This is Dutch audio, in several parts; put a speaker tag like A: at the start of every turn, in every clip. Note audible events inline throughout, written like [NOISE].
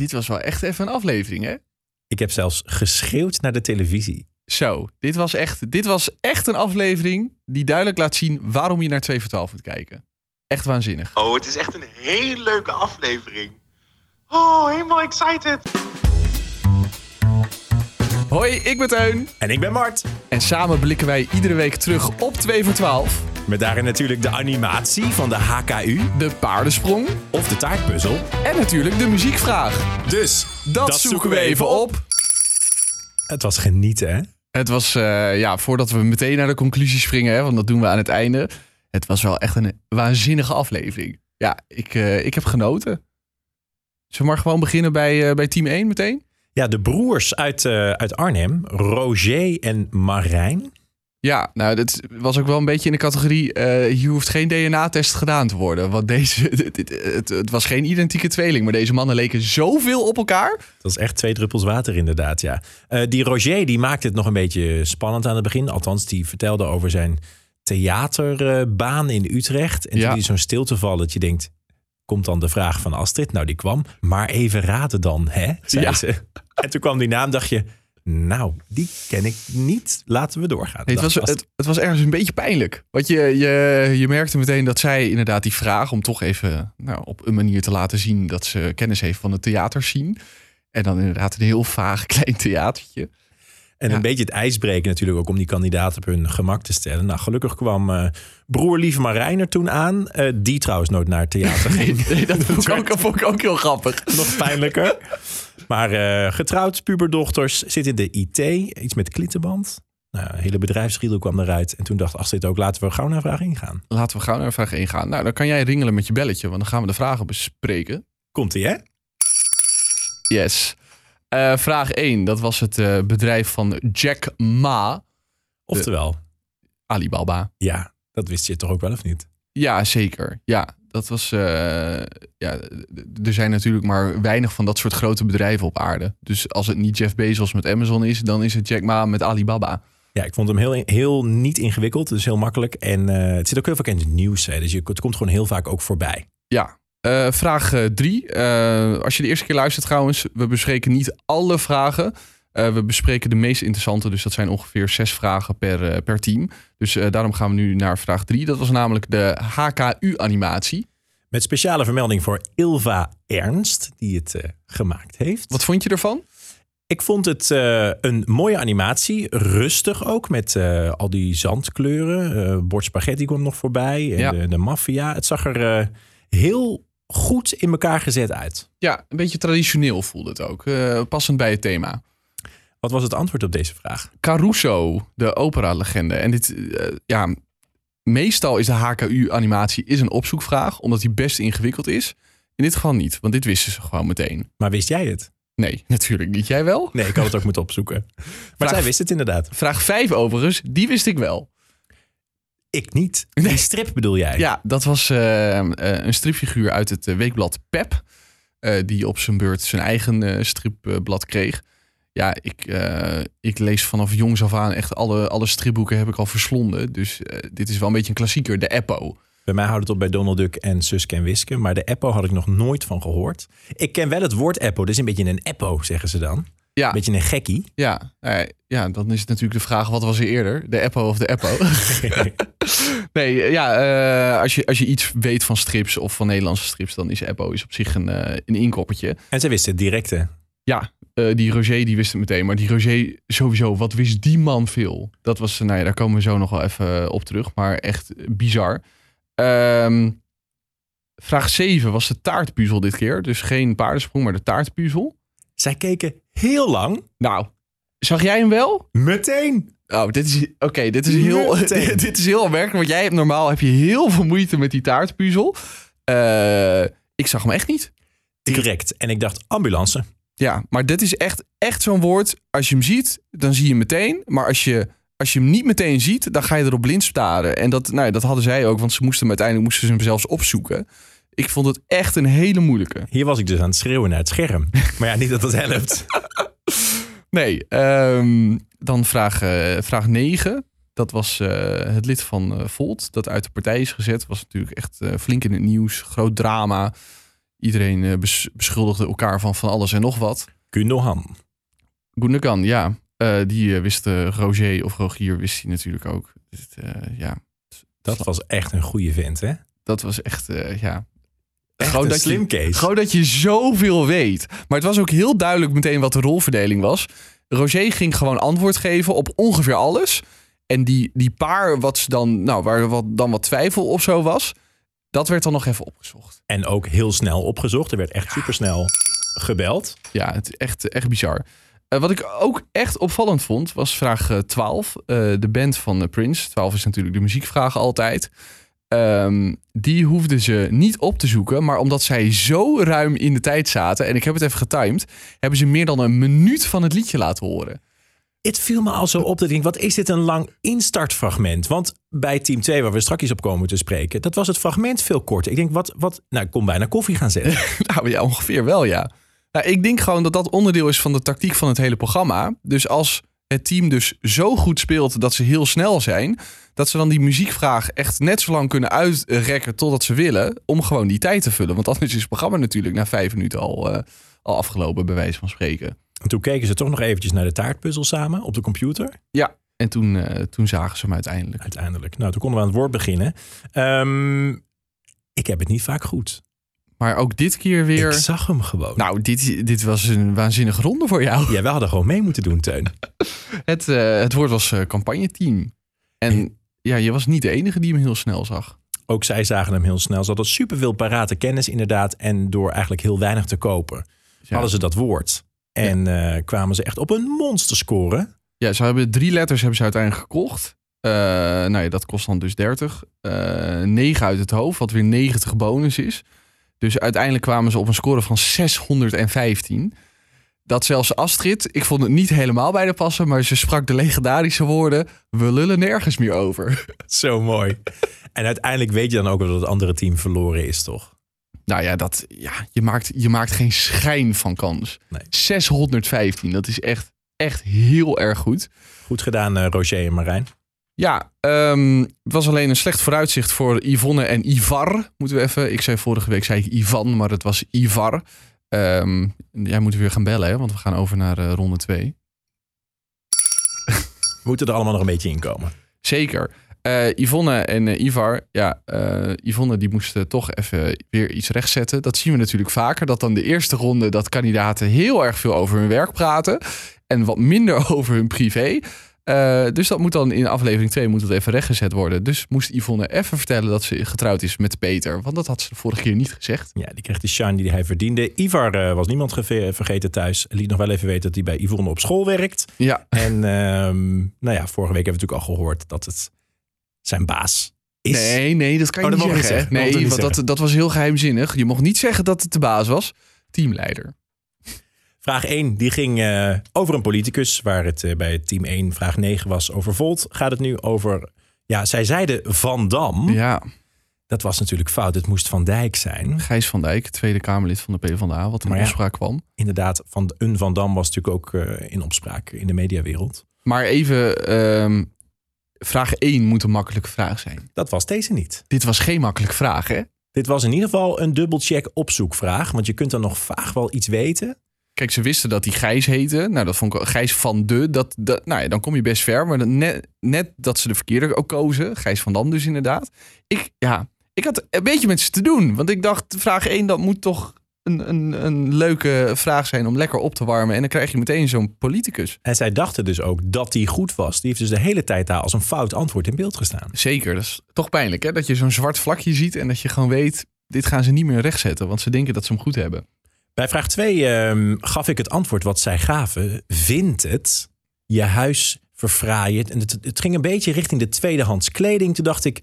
A: Dit was wel echt even een aflevering, hè?
B: Ik heb zelfs geschreeuwd naar de televisie.
A: Zo, dit was, echt, dit was echt een aflevering die duidelijk laat zien waarom je naar 2 voor 12 moet kijken. Echt waanzinnig.
C: Oh, het is echt een hele leuke aflevering. Oh, helemaal excited.
A: Hoi, ik ben Teun.
B: En ik ben Mart.
A: En samen blikken wij iedere week terug op 2 voor 12.
B: Met daarin natuurlijk de animatie van de HKU
A: De paardensprong
B: of de taartpuzzel.
A: en natuurlijk de muziekvraag.
B: Dus
A: Dat, zoeken we even op.
B: Het was genieten, hè?
A: Het was, eh, ja, voordat we meteen naar de conclusie springen, hè, want dat doen we aan het einde. Het was wel echt een waanzinnige aflevering. Ja, ik, eh, ik heb genoten. Zullen we maar gewoon beginnen bij, eh, bij team 1 meteen?
B: Ja, de broers uit, eh, uit Arnhem, Roger en Marijn.
A: Ja, nou, dat was ook wel een beetje in de categorie. eh, hier hoeft geen DNA-test gedaan te worden. Want deze. [LAUGHS] Het, het, het- het was geen identieke tweeling. Maar deze mannen leken zoveel op elkaar.
B: Dat is echt twee druppels water inderdaad, ja. Eh, die Roger die maakte het nog een beetje spannend aan het begin. Althans, die vertelde over zijn theaterbaan in Utrecht. En
A: Ja.
B: toen die zo'n stilte val dat je denkt... komt dan de vraag van Astrid? Nou, die kwam. Maar even raden dan, hè? zei
A: Ja.
B: ze. En toen kwam die naam, dacht je... Nou, die ken ik niet. Laten we doorgaan.
A: Nee, het, was,
B: Dacht Astrid.
A: het, het was ergens een beetje pijnlijk. Want je, je, je merkte meteen dat zij inderdaad die vraag. om toch even nou, op een manier te laten zien. dat ze kennis heeft van het theaterscene. En dan inderdaad een heel vaag [LAUGHS] klein theatertje.
B: En
A: Ja.
B: een beetje het ijs breken natuurlijk ook om die kandidaten op hun gemak te stellen. Nou, gelukkig kwam eh, broer Lieve Marijn er toen aan. Eh, die trouwens nooit naar het theater
A: Nee, [LAUGHS]
B: ging.
A: nee, dat vond ik, ook, dat vond ik ook heel grappig.
B: Nog pijnlijker. Maar eh, getrouwd, puberdochters, zit in de IT. Iets met klittenband. Nou, een hele bedrijfsriedel kwam eruit. En toen dacht Astrid ook, laten we gauw naar vraag ingaan.
A: Laten we gauw naar vraag 1 gaan. Nou, dan kan jij ringelen met je belletje. want dan gaan we de vragen bespreken.
B: Komt-ie, hè?
A: Yes. Eh, vraag 1, dat was het eh, bedrijf van Jack Ma,
B: Oftewel,
A: Alibaba.
B: ja, dat wist je toch ook wel of niet?
A: Ja, zeker. Ja, dat was. eh, ja, d- er zijn natuurlijk maar weinig van dat soort grote bedrijven op aarde. Dus als het niet Jeff Bezos met Amazon is, dan is het Jack Ma met Alibaba.
B: Ja, ik vond hem heel, heel niet ingewikkeld. Dus heel makkelijk. En eh, het zit ook heel vaak in het nieuws. Hè, dus je, het komt gewoon heel vaak ook voorbij.
A: Ja. Eh, vraag 3. als je de eerste keer luistert trouwens, we bespreken niet alle vragen. Eh, we bespreken de meest interessante, dus dat zijn ongeveer zes vragen per, eh, per team. Dus eh, daarom gaan we nu naar vraag 3. Dat was namelijk de HKU-animatie.
B: Met speciale vermelding voor Ilva Ernst, die het eh, gemaakt heeft.
A: Wat vond je ervan?
B: Ik vond het eh, een mooie animatie. Rustig ook, met eh, al die zandkleuren. Eh bord spaghetti kwam nog voorbij. En
A: Ja.
B: de, de maffia. Het zag er eh, heel goed in elkaar gezet uit.
A: Ja, een beetje traditioneel voelde het ook. eh, passend bij het thema.
B: Wat was het antwoord op deze vraag?
A: Caruso, de opera-legende. En dit, eh, ja, meestal is de HKU-animatie is een opzoekvraag, omdat die best ingewikkeld is. In dit geval niet, want dit wisten ze gewoon meteen.
B: Maar wist jij het?
A: Nee, [LAUGHS] natuurlijk niet. Jij wel?
B: Nee, ik had het ook [LAUGHS] moeten opzoeken. Maar
A: Vraag-
B: zij wist het inderdaad.
A: Vraag 5 overigens, die wist ik wel.
B: Ik niet. Die strip bedoel jij?
A: Ja, dat was eh, eh, een stripfiguur uit het eh, weekblad Pep. eh, die op zijn beurt zijn eigen eh, stripblad kreeg. Ja, ik, eh, ik lees vanaf jongs af aan echt alle, alle stripboeken heb ik al verslonden. Dus eh, dit is wel een beetje een klassieker, de Eppo.
B: Bij mij houdt het op bij Donald Duck en Suske en Wiske. Maar de Eppo had ik nog nooit van gehoord. Ik ken wel het woord Eppo. Dat is een beetje een Eppo, zeggen ze dan.
A: Ja.
B: Een beetje een
A: [LAUGHS]
B: gekkie.
A: Ja, nou ja, ja, dan is het natuurlijk de vraag, wat was er eerder? De Eppo of de Eppo? Nee, ja, eh, als, je, als je iets weet van strips of van Nederlandse strips... dan is Eppo is op zich een, eh, een inkoppertje.
B: en ze wist het direct, hè?
A: Ja, eh, die Roger die wist het meteen. Maar die Roger sowieso, wat wist die man veel? Dat was, eh, nou ja, daar komen we zo nog wel even eh, op terug. Maar echt bizar. Ehm, vraag 7 was de taartpuzzel dit keer. Dus geen paardensprong, maar de taartpuzzel.
B: Zij keken heel lang.
A: Nou, zag jij hem wel?
B: Meteen.
A: Oh, dit is, oké, dit is heel,
B: Meteen.
A: dit, [LAUGHS] dit is heel opmerkelijk. Want jij hebt normaal heb je heel veel moeite met die taartpuzzel. Eh, ik zag hem echt niet.
B: Direct. En ik dacht, ambulance.
A: Ja, maar dit is echt, echt zo'n woord. Als je hem ziet, dan zie je hem meteen. Maar als je, als je hem niet meteen ziet, dan ga je erop blind staren. En dat, nou ja, dat hadden zij ook, want ze moesten hem uiteindelijk moesten ze hem zelfs opzoeken. Ik vond het echt een hele moeilijke.
B: Hier was ik dus aan het schreeuwen naar het scherm. [LAUGHS] Maar ja, niet dat dat helpt.
A: Nee, ehm, dan vraag, eh, vraag 9. Dat was eh, het lid van eh Volt, dat uit de partij is gezet. Was natuurlijk echt eh, flink in het nieuws, groot drama. Iedereen eh, bes- beschuldigde elkaar van van alles en nog wat.
B: Gundogan.
A: Gundogan, ja. Eh, die eh, wist eh, Roger of Rogier wist hij natuurlijk ook. Dus, eh, ja,
B: Dat was echt een goede vent, hè?
A: dat was echt, eh, ja.
B: Echt
A: Gewoon
B: een
A: dat je-
B: slim case.
A: Gewoon dat je zoveel weet. Maar het was ook heel duidelijk meteen wat de rolverdeling was. Roger ging gewoon antwoord geven op ongeveer alles. En die, die paar wat ze dan, nou, waar wat, dan wat twijfel of zo was, dat werd dan nog even opgezocht.
B: En ook heel snel opgezocht. Er werd echt supersnel gebeld.
A: Ja, het is echt, echt bizar. Eh, wat ik ook echt opvallend vond, was vraag eh, 12. eh, de band van eh, Prince. 12 is natuurlijk de muziekvraag altijd. Ehm, die hoefden ze niet op te zoeken. Maar omdat zij zo ruim in de tijd zaten, en ik heb het even getimed, hebben ze meer dan een minuut van het liedje laten horen.
B: Het viel me al zo op dat ik denk, wat is dit een lang instartfragment? Want bij team 2, waar we straks op komen te spreken, dat was het fragment veel korter. Ik denk, wat, wat, nou, ik kon bijna koffie gaan zetten.
A: Nou ja, ongeveer wel ja. Nou, ik denk gewoon dat dat onderdeel is van de tactiek van het hele programma. Dus als het team dus zo goed speelt dat ze heel snel zijn, dat ze dan die muziekvraag echt net zo lang kunnen uitrekken totdat ze willen, om gewoon die tijd te vullen. Want anders is het programma natuurlijk na vijf minuten al, eh, al afgelopen, bij wijze van spreken.
B: En toen keken ze toch nog eventjes naar de taartpuzzel samen op de computer.
A: Ja, en toen, eh, toen zagen ze hem uiteindelijk.
B: Uiteindelijk. Nou, toen konden we aan het woord beginnen. Ehm, ik heb het niet vaak goed.
A: Maar ook dit keer
B: Ik
A: weer.
B: zag hem gewoon.
A: Nou, dit, dit was een waanzinnige ronde voor jou.
B: Ja, we hadden gewoon mee moeten doen, Teun.
A: Het, eh, het woord was eh, campagneteam. En ja, je was niet de enige die hem heel snel zag.
B: Ook zij zagen hem heel snel. Ze hadden superveel parate kennis inderdaad. En door eigenlijk heel weinig te kopen,
A: Ja.
B: hadden ze dat woord. En eh, kwamen ze echt op een monsterscore.
A: Ja, ze hebben drie letters hebben ze uiteindelijk gekocht. Eh, nou ja, dat kost dan dus 30. Eh 9 uit het hoofd, wat weer 90 bonus is. Dus uiteindelijk kwamen ze op een score van 615. Dat zelfs Astrid, ik vond het niet helemaal bij de passen, maar ze sprak de legendarische woorden: We lullen nergens meer over. [LAUGHS]
B: Zo mooi. en uiteindelijk weet je dan ook wel dat het andere team verloren is, toch?
A: Nou ja, dat, ja je, maakt, je maakt geen schijn van kans.
B: Nee.
A: 615, dat is echt, echt heel erg goed.
B: Goed gedaan, eh, Roger en Marijn.
A: Ja, ehm, het was alleen een slecht vooruitzicht voor Yvonne en Ivar. Moeten we even. Ik zei vorige week zei ik Ivan, maar het was Ivar. Ehm, jij moet weer gaan bellen, hè, want we gaan over naar eh, ronde 2.
B: We moeten er allemaal nog een beetje in komen.
A: Zeker. Eh, Yvonne en eh, Ivar, ja, eh, Yvonne die moest eh, toch even weer iets rechtzetten. Dat zien we natuurlijk vaker, dat dan de eerste ronde dat kandidaten heel erg veel over hun werk praten en wat minder [LAUGHS] over hun privé. Eh, dus dat moet dan in aflevering 2 moet dat even rechtgezet worden. Dus moest Yvonne even vertellen dat ze getrouwd is met Peter, want dat had ze de vorige keer niet gezegd.
B: Ja, die kreeg de shine die hij verdiende. Ivar eh, was niemand geve- vergeten thuis. Liet nog wel even weten dat hij bij Yvonne op school
A: [LAUGHS]
B: werkt.
A: Ja,
B: En ehm, nou ja, vorige week hebben we natuurlijk al gehoord dat het zijn baas is.
A: nee, nee, dat kan je
B: Oh, dat
A: niet
B: mogen we
A: zeggen. hè?
B: niet zeggen. Dat mogen we
A: Nee,
B: niet
A: want dat, dat was heel geheimzinnig. Je mocht niet zeggen dat het de baas was. Teamleider.
B: Vraag 1 die ging eh, over een politicus, waar het eh, bij team 1 vraag 9 was over Volt. Gaat het nu over, ja, zij zeiden Van Dam.
A: Ja,
B: Dat was natuurlijk fout, het moest Van Dijk zijn.
A: Gijs van Dijk, Tweede Kamerlid van de PvdA, wat in
B: Maar ja.
A: opspraak kwam.
B: Inderdaad, van, een Van Dam was natuurlijk ook eh, in opspraak in de mediawereld.
A: Maar even, ehm, vraag 1 moet een makkelijke vraag zijn.
B: Dat was deze niet.
A: Dit was geen makkelijke vraag, hè?
B: Dit was in ieder geval een dubbelcheck opzoekvraag, want je kunt dan nog vaag wel iets weten.
A: Kijk, ze wisten dat die Gijs heette. Nou, dat vond ik Gijs van de. Dat, dat, nou ja, dan kom je best ver. Maar dan net, net dat ze de verkeerde ook kozen. Gijs van Dam dus inderdaad. Ik, ja, ik had een beetje met ze te doen. Want ik dacht, vraag 1, dat moet toch een, een, een leuke vraag zijn om lekker op te warmen. En dan krijg je meteen zo'n politicus.
B: En zij dachten dus ook dat die goed was. Die heeft dus de hele tijd daar als een fout antwoord in beeld gestaan.
A: Zeker, dat is toch pijnlijk hè? Dat je zo'n zwart vlakje ziet en dat je gewoon weet... dit gaan ze niet meer rechtzetten, want ze denken dat ze hem goed hebben.
B: Bij vraag 2 gaf ik het antwoord wat zij gaven. Vindt het je huis verfraaien? En het, het ging een beetje richting de tweedehands kleding. Toen dacht ik,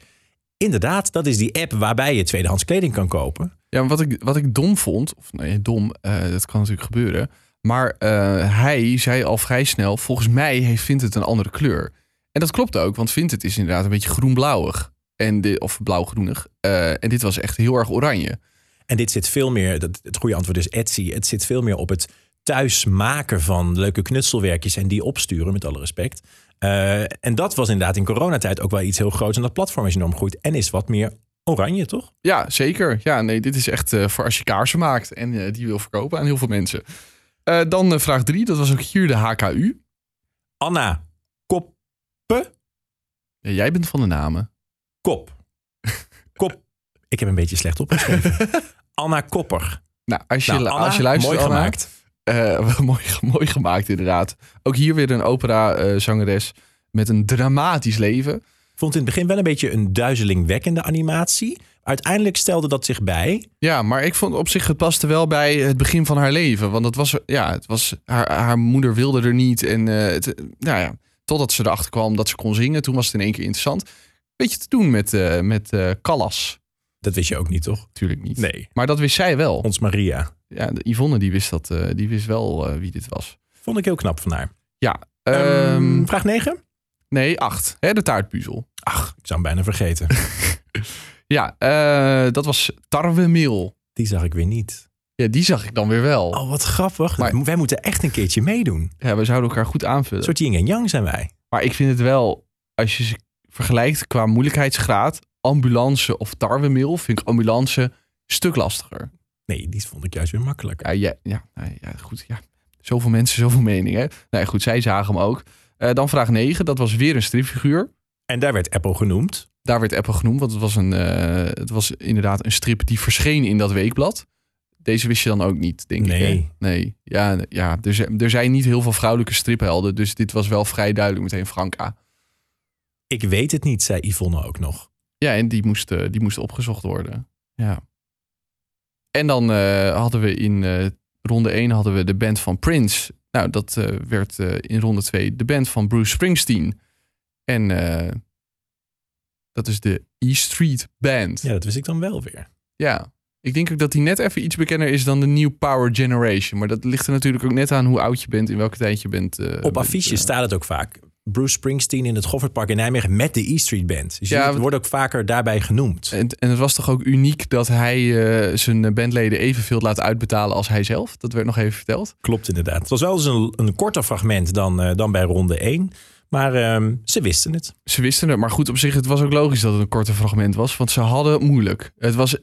B: inderdaad, dat is die app waarbij je tweedehands kleding kan kopen.
A: Ja, maar wat ik, wat ik dom vond... of nee, dom, eh, dat kan natuurlijk gebeuren... maar eh, hij zei al vrij snel... volgens mij heeft vindt het een andere kleur. En dat klopt ook, want vindt het is inderdaad een beetje groenblauwig. En de, of blauwgroenig. Eh, en dit was echt heel erg oranje.
B: En dit zit veel meer, dat, het goede antwoord is Etsy. Het zit veel meer op het thuis maken van leuke knutselwerkjes en die opsturen, met alle respect. Eh, en dat was inderdaad in coronatijd ook wel iets heel groots. En dat platform is enorm goed en is wat meer Oranje, toch?
A: Ja, zeker. Ja, nee, dit is echt eh, voor als je kaarsen maakt en eh, die wil verkopen aan heel veel mensen. Eh, dan eh, vraag 3, dat was ook hier de HKU.
B: Anna, kop,
A: Ja, jij bent van de namen.
B: kop. Kop. Ik heb een beetje slecht opgeschreven. Anna Kopper.
A: Nou, als je,
B: Nou, Anna,
A: als je luistert,
B: mooi
A: Anna,
B: gemaakt.
A: eh, [LAUGHS] mooi, ge- mooi gemaakt, inderdaad. Ook hier weer een opera-zangeres met een dramatisch leven.
B: Vond in het begin wel een beetje een duizelingwekkende animatie. Uiteindelijk stelde dat zich bij.
A: Ja, maar ik vond op zich het paste wel bij het begin van haar leven. Want het was, ja, het was, haar, haar moeder wilde er niet. En eh, het, nou ja, totdat ze erachter kwam dat ze kon zingen, toen was het in één keer interessant. Beetje te doen met, eh met eh Callas.
B: Dat wist je ook niet, toch?
A: Natuurlijk niet.
B: Nee.
A: Maar dat wist zij wel.
B: Ons Maria.
A: Ja, de Yvonne die wist, dat, eh, die wist wel eh, wie dit was.
B: Vond ik heel knap van haar.
A: Ehm,
B: Ehm, vraag 9?
A: nee, acht. Hè, de taartpuzzel.
B: Ach, ik zou hem bijna vergeten.
A: Ja, eh, dat was tarwemeel.
B: [LAUGHS] Die zag ik weer niet.
A: Ja, die zag ik dan weer wel.
B: Oh, wat grappig.
A: Maar-
B: Wij moeten echt een keertje meedoen. Een
A: Ja, we zouden elkaar goed aanvullen.
B: soort yin en yang zijn wij.
A: Maar ik vind het wel, als je ze vergelijkt qua moeilijkheidsgraad, ambulance of tarwemeel, vind ik ambulance een stuk lastiger.
B: Nee, die vond ik juist weer makkelijker.
A: Ja, ja, ja, nou ja goed. Ja. Zoveel mensen, zoveel meningen. Nou ja, goed, zij zagen hem ook. Eh, dan vraag 9, dat was weer een stripfiguur.
B: En daar werd Apple genoemd.
A: Daar werd Apple genoemd, want het was, een, eh, het was inderdaad een strip die verscheen in dat weekblad. Deze wist je dan ook niet, denk ik.
B: Nee.
A: hè? Nee. Ja, ja er, zijn- er zijn niet heel veel vrouwelijke striphelden, dus dit was wel vrij duidelijk meteen Franka.
B: Ik weet het niet, zei Yvonne ook nog.
A: Ja, en die moest, eh, die moest opgezocht worden. Ja. En dan eh, hadden we in eh, ronde 1 hadden we de band van Prince. Nou, dat eh, werd eh, in ronde 2 de band van Bruce Springsteen. En eh, dat is de E Street Band.
B: Ja, dat wist ik dan wel weer.
A: Ja, ik denk ook dat die net even iets bekender is dan de New Power Generation. Maar dat ligt er natuurlijk ook net aan hoe oud je bent, in welke tijd je bent. eh,
B: Op
A: bent,
B: affiches
A: eh.
B: staat het ook vaak. Bruce Springsteen in het Goffertpark in Nijmegen met de E Street Band. Dus
A: Ja,
B: ja, Eh. het
A: want-
B: wordt ook vaker daarbij genoemd.
A: En, en het was toch ook uniek dat hij eh, zijn bandleden evenveel laat uitbetalen als hij zelf. Dat werd nog even verteld.
B: Klopt inderdaad. Het was wel eens een, een korter fragment dan, eh, dan bij ronde 1. Maar ehm, ze wisten het.
A: Ze wisten het, maar goed op zich, het was ook logisch dat het een korte fragment was. Want ze hadden het moeilijk. Het was,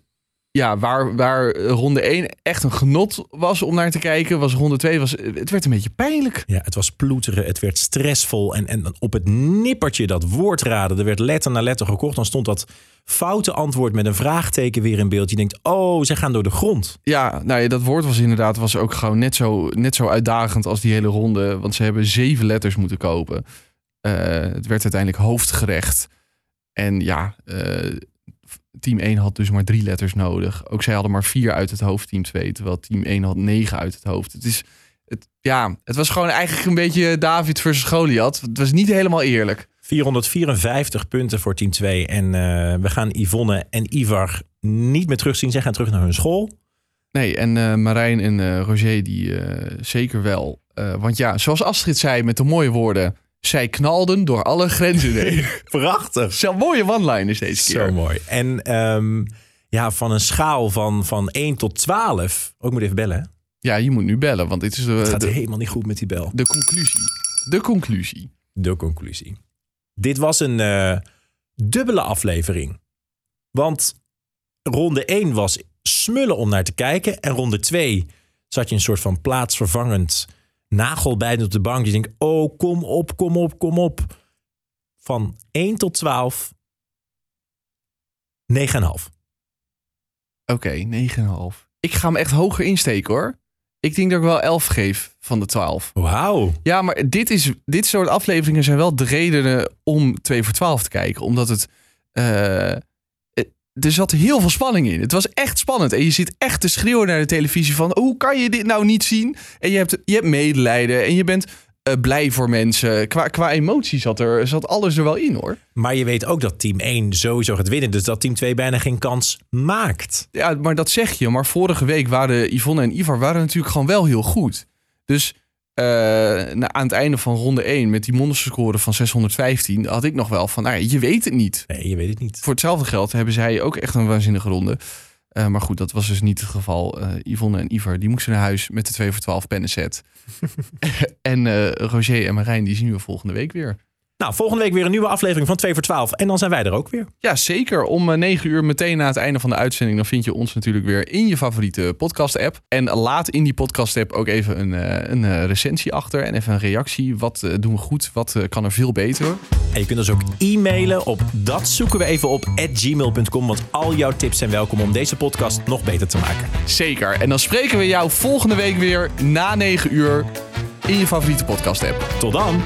A: ja, waar, waar ronde 1 echt een genot was om naar te kijken, was ronde 2, was, het werd een beetje pijnlijk.
B: Ja, het was ploeteren, het werd stressvol. En, en op het nippertje dat woord raden, er werd letter na letter gekocht. Dan stond dat foute antwoord met een vraagteken weer in beeld. Je denkt, oh, ze gaan door de grond.
A: Ja, nou ja, dat woord was inderdaad was ook gewoon net zo, net zo uitdagend als die hele ronde. Want ze hebben zeven letters moeten kopen. Eh, het werd uiteindelijk hoofdgerecht. En ja, eh, team 1 had dus maar drie letters nodig. Ook zij hadden maar vier uit het hoofd, team 2. Terwijl team 1 had negen uit het hoofd. Het, is, het, ja, het was gewoon eigenlijk een beetje David versus Goliath. Het was niet helemaal eerlijk.
B: 454 punten voor team 2. En eh, we gaan Yvonne en Ivar niet meer terugzien. Zij gaan terug naar hun school.
A: Nee, en eh, Marijn en eh, Roger die eh, zeker wel. Eh, want ja, zoals Astrid zei met de mooie woorden... Zij knalden door alle grenzen
B: [LAUGHS]
A: heen.
B: Prachtig.
A: Zo'n mooie one-liners deze keer.
B: Zo mooi. En ehm, ja, van een schaal van, van 1 tot 12. Ook moet even bellen. hè?
A: Ja, je moet nu bellen, want dit is eh,
B: Het
A: de,
B: gaat
A: Eh, de,
B: helemaal niet goed met die bel.
A: de conclusie. De conclusie.
B: de conclusie. Dit was een eh, dubbele aflevering. Want ronde 1 was smullen om naar te kijken. En ronde 2 zat je een soort van plaatsvervangend nagelbijten op de bank. Je denkt, oh, kom op, kom op, kom op. Van 1 tot 12, 9,5.
A: Oké, 9,5. Ik ga hem echt hoger insteken hoor. Ik denk dat ik wel 11 geef van de 12.
B: Wauw.
A: Ja, maar dit, is, dit soort afleveringen zijn wel de redenen om 2 voor 12 te kijken. Omdat het. eh, eh, er zat heel veel spanning in. Het was echt spannend. En je zit echt te schreeuwen naar de televisie van... hoe kan je dit nou niet zien? En je hebt, je hebt medelijden en je bent eh, blij voor mensen. Qua, qua emotie zat, er, zat alles er wel in, hoor.
B: Maar je weet ook dat team 1 sowieso gaat winnen. Dus dat team 2 bijna geen kans maakt.
A: Ja, maar dat zeg je. Maar vorige week waren Yvonne en Ivar waren natuurlijk gewoon wel heel goed. Dus eh, na- aan het einde van ronde 1 met die monsterscore van 615... had ik nog wel van, nou, ja, je weet het niet.
B: Nee, je weet het niet.
A: Voor hetzelfde geld hebben zij ook echt een waanzinnige ronde. Eh, maar goed, dat was dus niet het geval. Eh, Yvonne en Ivar die moesten naar huis met de 2 voor 12 pennenset. en eh, Roger en Marijn die zien we volgende week weer.
B: Nou, volgende week weer een nieuwe aflevering van 2 voor 12. En dan zijn wij er ook weer.
A: Ja, zeker. Om eh, 9 uur meteen na het einde van de uitzending... dan vind je ons natuurlijk weer in je favoriete podcast-app. En laat in die podcast-app ook even een, eh, een eh, recensie achter... en even een reactie. Wat eh, doen we goed? Wat eh, kan er veel beter?
B: En je kunt ons ook e-mailen op dat zoeken we even op at gmail.com. Want al jouw tips zijn welkom om deze podcast nog beter te maken.
A: Zeker. En dan spreken we jou volgende week weer na 9 uur... in je favoriete podcast-app.
B: Tot dan!